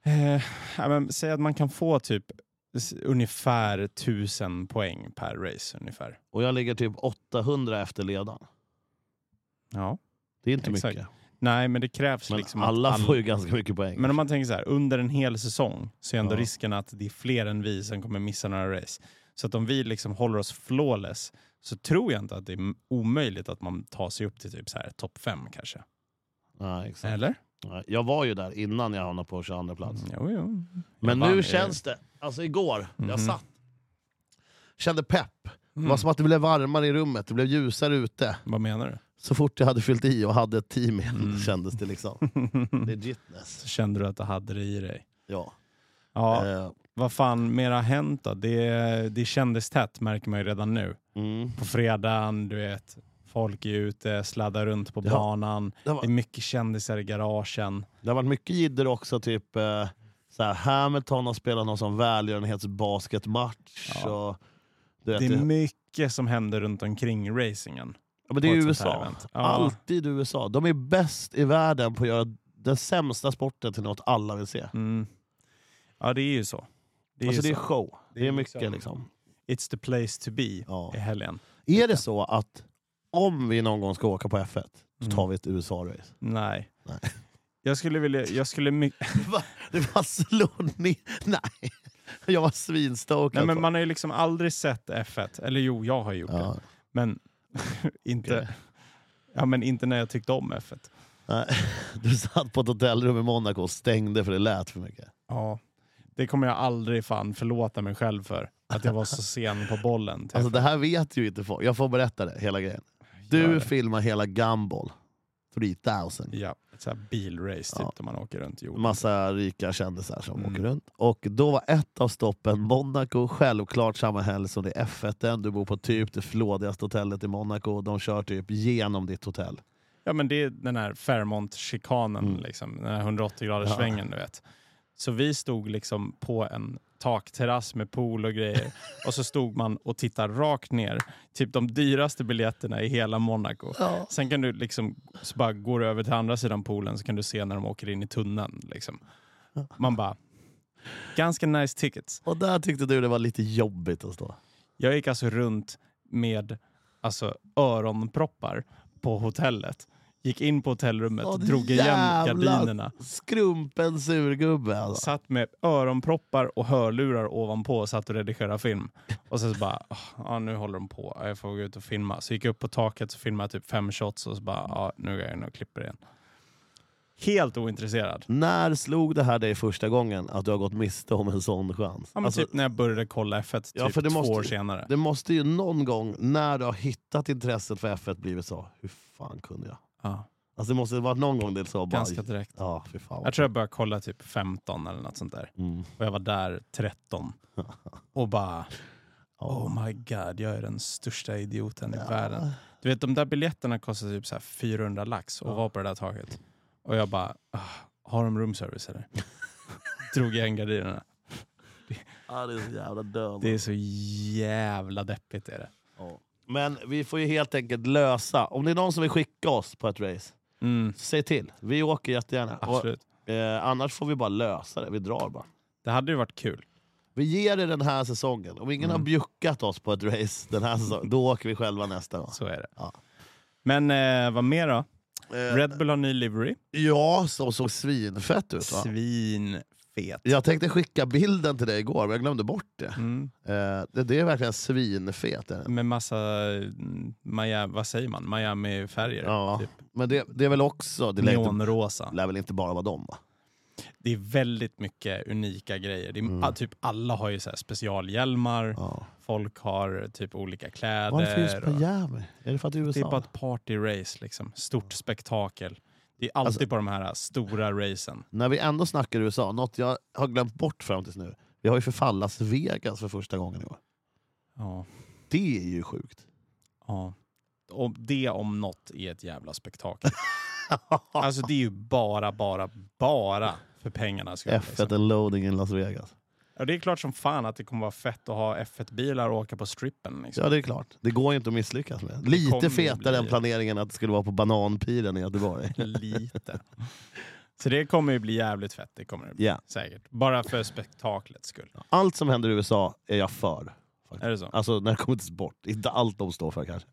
[SPEAKER 2] Eh, ja, men, säg att man kan få typ s- ungefär 1000 poäng per race. ungefär.
[SPEAKER 1] Och jag ligger typ 800 efter ledaren.
[SPEAKER 2] Ja.
[SPEAKER 1] Det är inte
[SPEAKER 2] Exakt.
[SPEAKER 1] mycket.
[SPEAKER 2] Nej, men det krävs
[SPEAKER 1] Men
[SPEAKER 2] liksom
[SPEAKER 1] alla
[SPEAKER 2] att
[SPEAKER 1] får ju ganska mycket poäng.
[SPEAKER 2] Men om man tänker så här, under en hel säsong så är ändå
[SPEAKER 1] Ja.
[SPEAKER 2] risken att det är fler än vi som kommer missa några race. Så att om vi liksom håller oss flawless så tror jag inte att det är m- omöjligt att man tar sig upp till typ så här topp fem kanske.
[SPEAKER 1] ja, exakt.
[SPEAKER 2] Eller? Mm,
[SPEAKER 1] Ja, Jag var ju där innan jag hamnade på 22 plats.
[SPEAKER 2] Jo, jo.
[SPEAKER 1] Men
[SPEAKER 2] Jag
[SPEAKER 1] nu
[SPEAKER 2] vann.
[SPEAKER 1] känns det. Alltså igår,
[SPEAKER 2] Mhm.
[SPEAKER 1] jag satt. Kände pepp. Det var
[SPEAKER 2] Mm.
[SPEAKER 1] som att det blev varmare i rummet, det blev ljusare ute.
[SPEAKER 2] Vad menar du?
[SPEAKER 1] Så fort jag hade fyllt i och hade ett team igen
[SPEAKER 2] Mm.
[SPEAKER 1] kändes det
[SPEAKER 2] [LAUGHS]
[SPEAKER 1] liksom legitness.
[SPEAKER 2] Så kände du att du hade det i dig?
[SPEAKER 1] Ja.
[SPEAKER 2] Ja,
[SPEAKER 1] Eh,
[SPEAKER 2] vad fan mer har hänt då? Det, det kändes tätt märker man ju redan nu.
[SPEAKER 1] mm.
[SPEAKER 2] På fredagen, du vet, folk är ute, sladdar runt på
[SPEAKER 1] Ja.
[SPEAKER 2] banan.
[SPEAKER 1] det,
[SPEAKER 2] Det är
[SPEAKER 1] har,
[SPEAKER 2] mycket kändisar i garagen.
[SPEAKER 1] det har varit mycket jidder också, typ eh, så här, Hamilton har spelat någon sån välgörenhetsbasketmatch.
[SPEAKER 2] Ja.
[SPEAKER 1] Och, du vet,
[SPEAKER 2] Det är
[SPEAKER 1] det,
[SPEAKER 2] mycket som händer runt omkring racingen.
[SPEAKER 1] ja, men det
[SPEAKER 2] på
[SPEAKER 1] är
[SPEAKER 2] ett sånt här
[SPEAKER 1] USA.
[SPEAKER 2] event. Ja.
[SPEAKER 1] Alltid USA. De är bäst i världen på att göra den sämsta sporten till något alla vill se.
[SPEAKER 2] Mm. Ja, det är ju så. Det är
[SPEAKER 1] Alltså
[SPEAKER 2] ju
[SPEAKER 1] det är
[SPEAKER 2] så.
[SPEAKER 1] show. Det är,
[SPEAKER 2] är
[SPEAKER 1] mycket
[SPEAKER 2] liksom-
[SPEAKER 1] liksom.
[SPEAKER 2] It's the place to be
[SPEAKER 1] Ja.
[SPEAKER 2] i helgen.
[SPEAKER 1] Är det så att om vi någon gång ska åka på F1, då tar vi ett [LAUGHS] USA-race?
[SPEAKER 2] Nej.
[SPEAKER 1] Nej.
[SPEAKER 2] [LAUGHS] Jag skulle vilja... Jag
[SPEAKER 1] [LAUGHS]
[SPEAKER 2] skulle my-
[SPEAKER 1] Det bara slår ni... [LAUGHS] Nej. Jag var alltså. svinstokad.
[SPEAKER 2] Nej, men
[SPEAKER 1] på-
[SPEAKER 2] man har ju liksom aldrig sett F1. Eller jo, jag har gjort det.
[SPEAKER 1] ja.
[SPEAKER 2] Men [LAUGHS] inte... Ja, men inte när jag tyckte om F1.
[SPEAKER 1] Nej. Du satt på ett hotellrum i Monaco och stängde för det lät för mycket.
[SPEAKER 2] Ja. Det kommer jag aldrig fan förlåta mig själv för. Att jag var så sen på bollen. typ. till
[SPEAKER 1] Alltså
[SPEAKER 2] F1.
[SPEAKER 1] det här vet ju inte folk. Jag får berätta det, hela grejen.
[SPEAKER 2] Gör
[SPEAKER 1] Du
[SPEAKER 2] det.
[SPEAKER 1] filmar hela Gumball 3000.
[SPEAKER 2] Ja, ett så här bilrace typ,
[SPEAKER 1] Ja.
[SPEAKER 2] där man åker runt jorden.
[SPEAKER 1] Massa rika kändisar som
[SPEAKER 2] Mm.
[SPEAKER 1] åker runt. Och då var ett av stoppen Monaco, självklart samma helg som det är F1. Du bor på typ det flådigaste hotellet i Monaco. De kör typ genom ditt hotell.
[SPEAKER 2] Ja, men det är den här Fairmont-chikanen,
[SPEAKER 1] Mm.
[SPEAKER 2] liksom, den här 180-graderssvängen,
[SPEAKER 1] Ja.
[SPEAKER 2] svängen du vet. Så vi stod liksom på en takterrass med pool
[SPEAKER 1] [LAUGHS]
[SPEAKER 2] och grejer och så stod man och tittade rakt ner. Typ de dyraste biljetterna i hela Monaco. Sen kan du liksom, så bara går du över till andra sidan poolen så kan du se när de åker in i tunneln. Liksom. Man bara, ganska nice tickets.
[SPEAKER 1] Och där tyckte du det var lite jobbigt att stå.
[SPEAKER 2] Jag gick alltså runt med alltså, öronproppar på hotellet. Gick in på hotellrummet,
[SPEAKER 1] Åh,
[SPEAKER 2] drog igen
[SPEAKER 1] jävlar.
[SPEAKER 2] gardinerna.
[SPEAKER 1] Skrumpen surgubbe alltså.
[SPEAKER 2] Satt med öronproppar och hörlurar ovanpå och satt och redigerade film. Och sen så bara, "Ah, ja, nu håller de på. Ja, Jag får gå ut och filma. Så gick jag upp på taket och filmade typ fem shots och så bara, ja, nu går jag in och klipper igen. Helt ointresserad.
[SPEAKER 1] När slog det här dig första gången att du har gått miste om en sån chans?
[SPEAKER 2] Ja, men
[SPEAKER 1] Alltså,
[SPEAKER 2] typ när jag började kolla F1, typ
[SPEAKER 1] Ja, för det
[SPEAKER 2] två
[SPEAKER 1] måste-
[SPEAKER 2] år senare.
[SPEAKER 1] Det måste ju någon gång när du har hittat intresset för F1 blivit så, hur fan kunde jag?
[SPEAKER 2] Ja,
[SPEAKER 1] Alltså det måste ha varit någon gång det så bara...
[SPEAKER 2] ganska direkt.
[SPEAKER 1] Ja, fy fan.
[SPEAKER 2] Jag tror jag började kolla typ 15 eller något sånt där.
[SPEAKER 1] Mm.
[SPEAKER 2] Och jag var där
[SPEAKER 1] [LAUGHS]
[SPEAKER 2] 13. Och bara, oh my god, jag är den största idioten i världen. Du vet, de där biljetterna kostade typ så här 400 lax och var på det där taget. Och jag bara, "Ah, har de
[SPEAKER 1] [LAUGHS]
[SPEAKER 2] roomservice eller? Drog igen gardinerna.
[SPEAKER 1] Ja, det är så jävla död. alltså.
[SPEAKER 2] Det är så jävla deppigt är det.
[SPEAKER 1] Ja. Men vi får ju helt enkelt lösa. Om det är någon som vill skicka oss på ett race,
[SPEAKER 2] Mm,
[SPEAKER 1] säg till. Vi åker jättegärna.
[SPEAKER 2] absolut.
[SPEAKER 1] Och, eh, annars får vi bara lösa det. Vi drar bara.
[SPEAKER 2] Det hade ju varit kul.
[SPEAKER 1] Vi ger det den här säsongen. Om ingen
[SPEAKER 2] Mm.
[SPEAKER 1] har bjuckat oss på ett race den här säsongen, då åker vi själva nästa gång.
[SPEAKER 2] Så är det.
[SPEAKER 1] Ja.
[SPEAKER 2] Men eh, vad mer då?
[SPEAKER 1] Eh,
[SPEAKER 2] Red Bull har ny livery.
[SPEAKER 1] Ja, som såg svinfett ut va?
[SPEAKER 2] Svinfet.
[SPEAKER 1] Jag tänkte skicka bilden till dig igår, men jag glömde bort det.
[SPEAKER 2] Mm.
[SPEAKER 1] Eh, det, det är verkligen svinfet. Är den.
[SPEAKER 2] Med massa, mm, Maja, vad säger man, Miami-färger.
[SPEAKER 1] Ja.
[SPEAKER 2] Typ.
[SPEAKER 1] Men det, det är väl också... Det lär, inte,
[SPEAKER 2] Neonrosa.
[SPEAKER 1] lär väl inte bara vara dem va?
[SPEAKER 2] Det är väldigt mycket unika grejer. Det är, ah, typ alla har ju så här specialhjälmar,
[SPEAKER 1] Mm. Ja.
[SPEAKER 2] folk har typ olika kläder.
[SPEAKER 1] Varför just
[SPEAKER 2] och-
[SPEAKER 1] på Miami? Är det för att det är USA?
[SPEAKER 2] det är bara ett partyrace, liksom. stort spektakel. Det är
[SPEAKER 1] Alltså-
[SPEAKER 2] alltid på de här stora racen.
[SPEAKER 1] När vi ändå snackar USA, något jag har glömt bort fram tills nu. Vi har ju för fan Las Vegas för första gången i år.
[SPEAKER 2] Ja,
[SPEAKER 1] Det är ju
[SPEAKER 2] [LAUGHS]
[SPEAKER 1] sjukt.
[SPEAKER 2] ja. Och det om något är ett jävla spektakel.
[SPEAKER 1] [LAUGHS]
[SPEAKER 2] alltså det är ju bara, bara, bara för pengarna. skulle jag säga.
[SPEAKER 1] F1 and loading in Las Vegas.
[SPEAKER 2] Ja, det är klart som fan att det kommer vara fett att ha F1-bilar och åka på strippen. Liksom.
[SPEAKER 1] Ja det är klart, det går ju inte att misslyckas med.
[SPEAKER 2] kommer ju
[SPEAKER 1] Lite fetare
[SPEAKER 2] bli- [LAUGHS]
[SPEAKER 1] [LAUGHS] än planeringen att det skulle vara på Bananpiren i Göteborg.
[SPEAKER 2] Lite. Så det kommer ju bli jävligt fett. Det kommer det bli.
[SPEAKER 1] Ja.
[SPEAKER 2] Säkert. Bara för spektaklets skull.
[SPEAKER 1] Allt som händer i USA är jag för.
[SPEAKER 2] Är det så?
[SPEAKER 1] Alltså när det kommer till sport. Inte allt de står för kanske.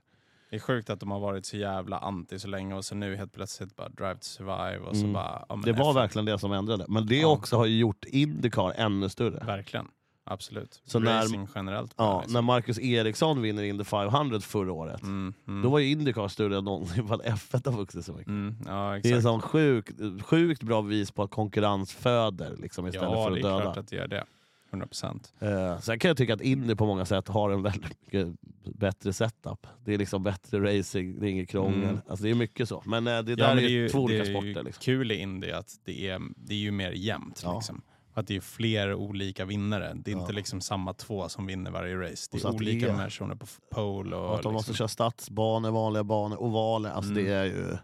[SPEAKER 2] Det är sjukt att de har varit så jävla anti så länge och så nu helt plötsligt bara Drive to Survive och så
[SPEAKER 1] Mm.
[SPEAKER 2] bara... Ja, men
[SPEAKER 1] Det var
[SPEAKER 2] F1.
[SPEAKER 1] verkligen det som ändrade. Men det
[SPEAKER 2] Ja.
[SPEAKER 1] också har ju gjort Indycar ännu större.
[SPEAKER 2] Verkligen. Absolut.
[SPEAKER 1] Så när-
[SPEAKER 2] Racing generellt. bara,
[SPEAKER 1] Ja,
[SPEAKER 2] liksom.
[SPEAKER 1] när Marcus Eriksson vinner Indy 500 förra året,
[SPEAKER 2] mm, mm,
[SPEAKER 1] då var ju Indycar större än någonsin [LAUGHS] för att F1 har vuxit så mycket.
[SPEAKER 2] mm, ja,
[SPEAKER 1] Det är en
[SPEAKER 2] exakt.
[SPEAKER 1] sån sjuk, sjukt bra bevis på att konkurrens föder liksom, istället
[SPEAKER 2] Ja,
[SPEAKER 1] för
[SPEAKER 2] det
[SPEAKER 1] att
[SPEAKER 2] är
[SPEAKER 1] döda.
[SPEAKER 2] klart att det gör det. 100 procent.
[SPEAKER 1] Eh, sen kan jag tycka att Indy på många sätt har en väldigt mycket bättre setup. Det är liksom bättre racing, det är inget krångel.
[SPEAKER 2] Mm.
[SPEAKER 1] Alltså, det är mycket så. Men eh, det där är, ju två olika sporter. Liksom.
[SPEAKER 2] kul i Indie att det är, det är ju mer jämnt.
[SPEAKER 1] Ja.
[SPEAKER 2] Liksom. Att det är fler olika vinnare. Det är
[SPEAKER 1] Ja.
[SPEAKER 2] inte liksom samma två som vinner varje race.
[SPEAKER 1] Och
[SPEAKER 2] Det
[SPEAKER 1] så
[SPEAKER 2] är
[SPEAKER 1] att det
[SPEAKER 2] olika
[SPEAKER 1] är-
[SPEAKER 2] personer på f- pole och...
[SPEAKER 1] Och att de måste
[SPEAKER 2] liksom-
[SPEAKER 1] köra stadsbanor, vanliga banor, ovaler. Alltså,
[SPEAKER 2] Mm.
[SPEAKER 1] Det är ju...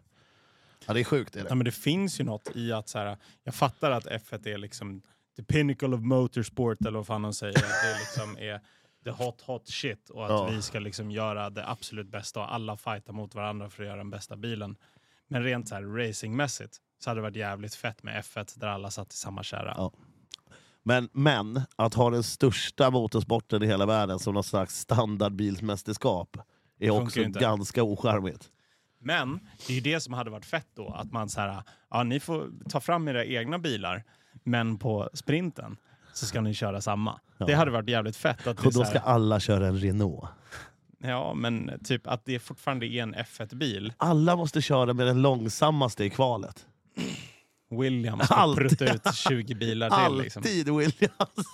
[SPEAKER 1] Ja, det är sjukt. Är det.
[SPEAKER 2] Ja, men det finns ju något i att så här, jag fattar att F1 är liksom the pinnacle of motorsport eller vad fan de säger. Att det liksom är the hot hot shit och att
[SPEAKER 1] Ja.
[SPEAKER 2] vi ska liksom göra det absolut bästa och alla fightar mot varandra för att göra den bästa bilen. Men rent så här racingmässigt så hade det varit jävligt fett med F1 där alla satt i samma kärra.
[SPEAKER 1] Ja. Men, men att ha den största motorsporten i hela världen som någon slags standardbilsmästerskap är
[SPEAKER 2] funkar
[SPEAKER 1] också
[SPEAKER 2] ju inte.
[SPEAKER 1] ganska ocharmigt.
[SPEAKER 2] Men det är ju det som hade varit fett då, att man så här, ja ni får ta fram era egna bilar, men på sprinten så ska ni köra samma. Det hade varit jävligt fett. Att det är
[SPEAKER 1] Och
[SPEAKER 2] så
[SPEAKER 1] då
[SPEAKER 2] här-
[SPEAKER 1] ska alla köra en Renault.
[SPEAKER 2] Ja, men typ att det fortfarande är en F1-bil.
[SPEAKER 1] Alla måste köra med den långsammaste i kvalet.
[SPEAKER 2] William ska
[SPEAKER 1] Alltid.
[SPEAKER 2] prutta ut 20 bilar till. Liksom.
[SPEAKER 1] Alltid Williams!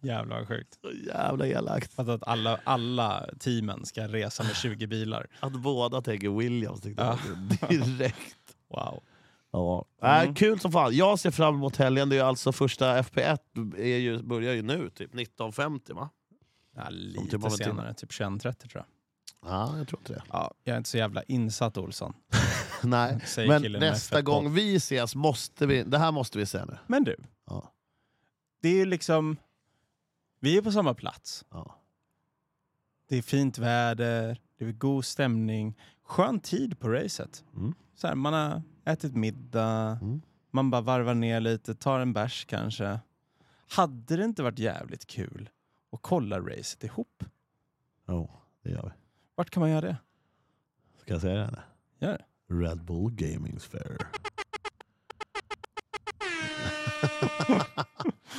[SPEAKER 2] Jävlar vad sjukt.
[SPEAKER 1] Så [LAUGHS] jävla elakt.
[SPEAKER 2] Fattar att alla, alla teamen ska resa med 20 bilar.
[SPEAKER 1] Att båda tänker Williams tyckte jag [LAUGHS] direkt.
[SPEAKER 2] Wow. [LAUGHS]
[SPEAKER 1] Ja.
[SPEAKER 2] Mm.
[SPEAKER 1] Äh, kul som fan. Jag ser fram emot helgen. Det är ju alltså första FP1 är ju, börjar ju nu, typ 19.50 va?
[SPEAKER 2] Ja,
[SPEAKER 1] Om
[SPEAKER 2] lite
[SPEAKER 1] typ av en timme.
[SPEAKER 2] senare, typ 21.30 tror jag.
[SPEAKER 1] Ja, jag tror inte det.
[SPEAKER 2] Ja, jag är inte så jävla insatt Olsson.
[SPEAKER 1] [LAUGHS] Nej.
[SPEAKER 2] Säger
[SPEAKER 1] Men
[SPEAKER 2] killen med
[SPEAKER 1] nästa
[SPEAKER 2] fett boll.
[SPEAKER 1] gång vi ses måste vi... Det här måste vi se nu.
[SPEAKER 2] Men du,
[SPEAKER 1] Ja.
[SPEAKER 2] det är ju liksom... Vi är på samma plats.
[SPEAKER 1] Ja.
[SPEAKER 2] Det är fint väder, det är god stämning, skön tid på racet.
[SPEAKER 1] Mm.
[SPEAKER 2] Så här, man har ätit middag,
[SPEAKER 1] Mm.
[SPEAKER 2] man bara varvar ner lite, tar en bärs kanske. Hade det inte varit jävligt kul att kolla racet ihop?
[SPEAKER 1] Jo, det gör vi.
[SPEAKER 2] Vart kan man göra det?
[SPEAKER 1] Ska jag säga det? Eller?
[SPEAKER 2] Gör det.
[SPEAKER 1] Red Bull Gaming
[SPEAKER 2] [LAUGHS]
[SPEAKER 1] Fair.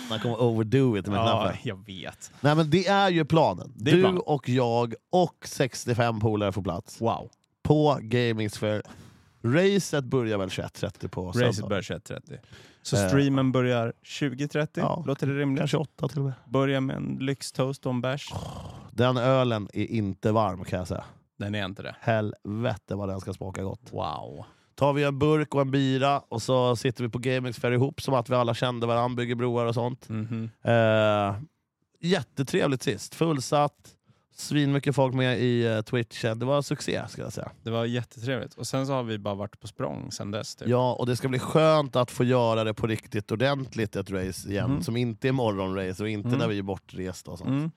[SPEAKER 1] Man kommer overdo it med knappen.
[SPEAKER 2] jag vet.
[SPEAKER 1] Nej men det är ju planen.
[SPEAKER 2] är
[SPEAKER 1] du
[SPEAKER 2] planen.
[SPEAKER 1] och jag och 65 polare får plats
[SPEAKER 2] Wow.
[SPEAKER 1] på Gaming Sphere. Racet börjar väl 21.30 på
[SPEAKER 2] Racet
[SPEAKER 1] söndag?
[SPEAKER 2] börjar 21.30. Så
[SPEAKER 1] Eh.
[SPEAKER 2] streamen börjar 20.30.
[SPEAKER 1] Ja.
[SPEAKER 2] Låter det rimligt?
[SPEAKER 1] Mm, Kanske 8 till och med.
[SPEAKER 2] Börja med en lyxtoast och en bärs.
[SPEAKER 1] Oh. Den ölen är inte varm kan jag säga.
[SPEAKER 2] Den är inte det.
[SPEAKER 1] Helvete vad den ska smaka gott.
[SPEAKER 2] Wow.
[SPEAKER 1] Tar vi en burk och en bira och så sitter vi på Gaming Sphere ihop som att vi alla kände varandra, bygger broar och sånt.
[SPEAKER 2] Mhm.
[SPEAKER 1] Eh, jättetrevligt sist. Fullsatt, svinmycket folk med i eh, Twitchen. Det var succé ska jag säga.
[SPEAKER 2] Det var jättetrevligt. Och sen så har vi bara varit på språng sen dess. Typ.
[SPEAKER 1] Ja, och det ska bli skönt att få göra det på riktigt ordentligt ett race igen.
[SPEAKER 2] Mm.
[SPEAKER 1] Som inte är morgonrace och inte
[SPEAKER 2] Mm.
[SPEAKER 1] när vi är bortresta och sånt.
[SPEAKER 2] Mm.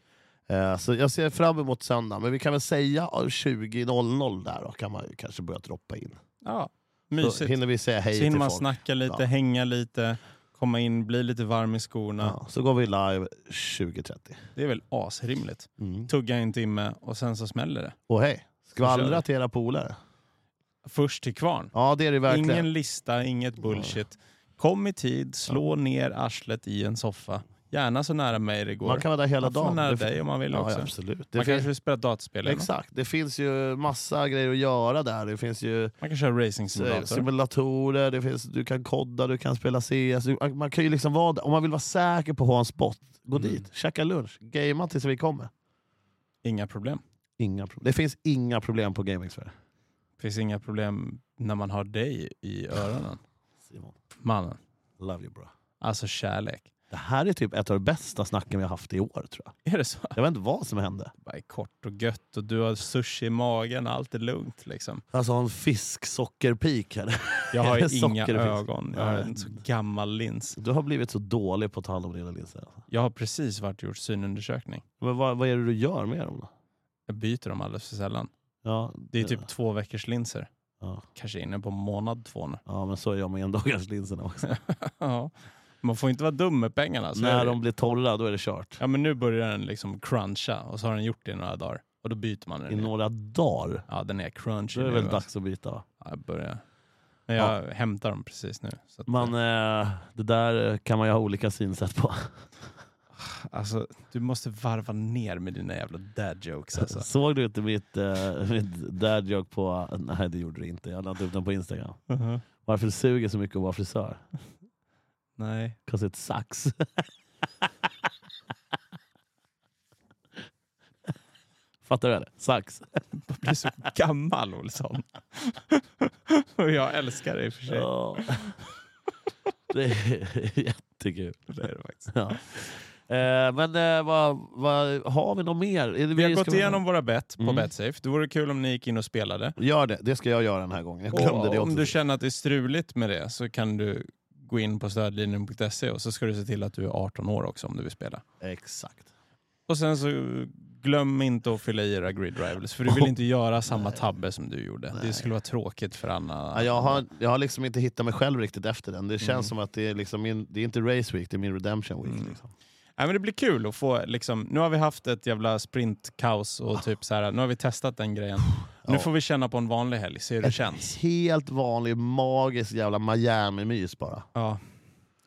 [SPEAKER 1] Eh, så jag ser fram emot söndag, men vi kan väl säga ja, 20.00 där då kan man ju kanske börja droppa in.
[SPEAKER 2] ja.
[SPEAKER 1] Så
[SPEAKER 2] Mysigt.
[SPEAKER 1] hinner vi säga hej
[SPEAKER 2] Så hinner
[SPEAKER 1] till
[SPEAKER 2] man
[SPEAKER 1] folk.
[SPEAKER 2] snacka lite,
[SPEAKER 1] Ja.
[SPEAKER 2] hänga lite, komma in, bli lite varm i skorna.
[SPEAKER 1] Ja, så går vi live 20.30.
[SPEAKER 2] Det är väl asrimligt.
[SPEAKER 1] Mm.
[SPEAKER 2] Tugga en timme och sen så smäller det.
[SPEAKER 1] Och hej,
[SPEAKER 2] kör
[SPEAKER 1] skvallra
[SPEAKER 2] vi.
[SPEAKER 1] till era polare.
[SPEAKER 2] Först till kvarn.
[SPEAKER 1] Ja det är det verkligen.
[SPEAKER 2] Ingen lista, inget bullshit. Kom i tid, slå ner arslet i en soffa. Gärna så nära mig det går.
[SPEAKER 1] Man kan vara där hela
[SPEAKER 2] Man får
[SPEAKER 1] dagen.
[SPEAKER 2] nära
[SPEAKER 1] Det fin-
[SPEAKER 2] dig om man vill
[SPEAKER 1] ja,
[SPEAKER 2] också.
[SPEAKER 1] ja, absolut. Det
[SPEAKER 2] man
[SPEAKER 1] fin-
[SPEAKER 2] kanske vill spela dataspel eller något.
[SPEAKER 1] Exakt, det finns ju massa grejer att göra där. Det finns ju
[SPEAKER 2] Man kan köra racing
[SPEAKER 1] eh,
[SPEAKER 2] simulator.
[SPEAKER 1] simulatorer, det finns, du kan kodda, du kan spela CS. Du- Man kan ju liksom vara där. Om man vill vara säker på att ha en spot, gå
[SPEAKER 2] Mm.
[SPEAKER 1] dit, käka lunch, gamea tills vi kommer.
[SPEAKER 2] Inga problem.
[SPEAKER 1] Inga problem. Det finns inga problem på gaming Sverige.
[SPEAKER 2] Finns inga problem när man har dig i öronen.
[SPEAKER 1] Simon,
[SPEAKER 2] Mannen,
[SPEAKER 1] love you bro.
[SPEAKER 2] alltså kärlek.
[SPEAKER 1] Det här är typ ett av de bästa snacken vi har haft i år tror jag.
[SPEAKER 2] Är det så?
[SPEAKER 1] Jag vet inte vad som hände.
[SPEAKER 2] Bara är kort och gött och du har sushi i magen, allt är lugnt liksom.
[SPEAKER 1] Alltså en fisksockerpeak här.
[SPEAKER 2] Jag [LAUGHS] har
[SPEAKER 1] Är
[SPEAKER 2] ju
[SPEAKER 1] det
[SPEAKER 2] inga
[SPEAKER 1] socker det finns?
[SPEAKER 2] ögon. Jag har
[SPEAKER 1] Nej.
[SPEAKER 2] en så gammal lins.
[SPEAKER 1] Du har blivit så dålig på att ta hand om dina linser. alltså.
[SPEAKER 2] Jag har precis varit och gjort synundersökning.
[SPEAKER 1] Men vad, vad är det du gör med dem då?
[SPEAKER 2] Jag byter dem alldeles för sällan.
[SPEAKER 1] Ja,
[SPEAKER 2] typ- Det är typ två veckors linser.
[SPEAKER 1] Ja.
[SPEAKER 2] Kanske inne på månad två nu.
[SPEAKER 1] Ja, men så är jag med endagarslinserna också.
[SPEAKER 2] [LAUGHS] Ja. Man får inte vara dum med pengarna. Så är det.
[SPEAKER 1] När de blir torra, då är det kört.
[SPEAKER 2] Ja, men nu börjar den liksom cruncha och så har den gjort det i några dagar. Och då byter man den.
[SPEAKER 1] I några dagar.
[SPEAKER 2] Ja, den är
[SPEAKER 1] Då
[SPEAKER 2] crunchy
[SPEAKER 1] är det
[SPEAKER 2] nu,
[SPEAKER 1] väl
[SPEAKER 2] alltså.
[SPEAKER 1] dags att byta. va?
[SPEAKER 2] Ja, jag börjar. Men jag hämtar dem precis nu. Så att,
[SPEAKER 1] Men eh, det där kan man ju ha olika synsätt på.
[SPEAKER 2] alltså, du måste varva ner med dina jävla dad
[SPEAKER 1] [LAUGHS]
[SPEAKER 2] jokes alltså.
[SPEAKER 1] Såg du inte mitt, eh, mitt dad joke på... Nej, det gjorde du inte. Jag lade upp den på Instagram. Varför det suger så mycket att vara frisör?
[SPEAKER 2] Nej.
[SPEAKER 1] Cause it sucks. [LAUGHS] Fattar du det? Sucks.
[SPEAKER 2] Jag blir så gammal Olsson. [LAUGHS] och jag älskar dig i och för sig.
[SPEAKER 1] Ja. Det är [LAUGHS] jättekul.
[SPEAKER 2] Det är det faktiskt.
[SPEAKER 1] Ja. Eh, men eh, vad, vad, har vi något mer? Är det-
[SPEAKER 2] Vi har
[SPEAKER 1] ska
[SPEAKER 2] gått igenom våra bet på
[SPEAKER 1] Mm.
[SPEAKER 2] Betsafe. Det vore kul om ni gick in och spelade.
[SPEAKER 1] Gör det. Det ska jag göra den här gången. Jag glömde
[SPEAKER 2] Och
[SPEAKER 1] det
[SPEAKER 2] om
[SPEAKER 1] också.
[SPEAKER 2] du känner att det är struligt med det så kan du gå in på stödlinjen.se och så ska du se till att du är 18 år också om du vill spela.
[SPEAKER 1] Exakt.
[SPEAKER 2] Och sen så glöm inte att fylla i era grid rivals för
[SPEAKER 1] [LAUGHS]
[SPEAKER 2] du vill
[SPEAKER 1] Oh.
[SPEAKER 2] inte göra samma tabbe som du gjorde. Det
[SPEAKER 1] Nej.
[SPEAKER 2] skulle vara tråkigt för Anna.
[SPEAKER 1] Ja, jag, har, jag har liksom inte hittat mig själv riktigt efter den. Det känns
[SPEAKER 2] Mm.
[SPEAKER 1] som att det är, liksom min, det är inte race week, det är min redemption week. Liksom.
[SPEAKER 2] Nej, men det blir kul att få liksom, nu har vi haft ett jävla sprintkaos och typ så här, nu har vi testat den grejen. Nu
[SPEAKER 1] Ja.
[SPEAKER 2] får vi känna på en vanlig helg, se hur det känns.
[SPEAKER 1] Helt vanlig, magisk jävla Miami-mys bara.
[SPEAKER 2] Ja,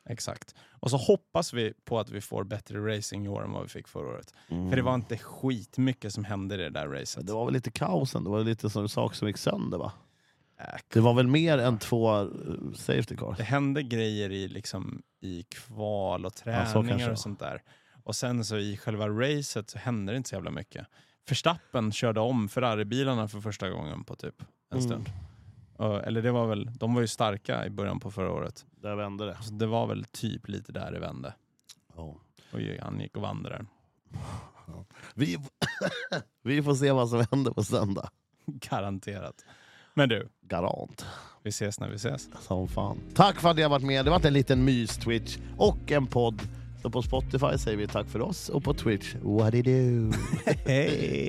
[SPEAKER 2] exakt. Och så hoppas vi på att vi får bättre racing i år än vad vi fick förra året. För det var inte skitmycket som hände i det där racet.
[SPEAKER 1] Mm. Det var väl lite kaos ändå, det var lite som saker som gick sönder va?
[SPEAKER 2] Äh,
[SPEAKER 1] Det var väl mer än två eh, safety cars?
[SPEAKER 2] Det hände grejer i, liksom, i kval och
[SPEAKER 1] Ja, så
[SPEAKER 2] träningar
[SPEAKER 1] kanske det var.
[SPEAKER 2] och sånt där. Och sen så i själva racet så hände det inte så jävla mycket. Verstappen körde om Ferrari-bilarna för första gången på typ en
[SPEAKER 1] Mm.
[SPEAKER 2] stund. Ö, Eller det var väl, de var ju starka i början på förra året.
[SPEAKER 1] Där vände det.
[SPEAKER 2] Så det var väl typ lite där det vände. Och ju- han gick och vann det där. [LAUGHS]
[SPEAKER 1] Vi, [LAUGHS] vi får se vad som händer på söndag.
[SPEAKER 2] Garanterat. Men du,
[SPEAKER 1] Garant.
[SPEAKER 2] vi ses när vi ses.
[SPEAKER 1] Som fan. Tack för att ni har varit med. Det har varit en liten mys-twitch och en podd. Så på Spotify säger vi tack för oss och på Twitch, what do you do?
[SPEAKER 2] Hej!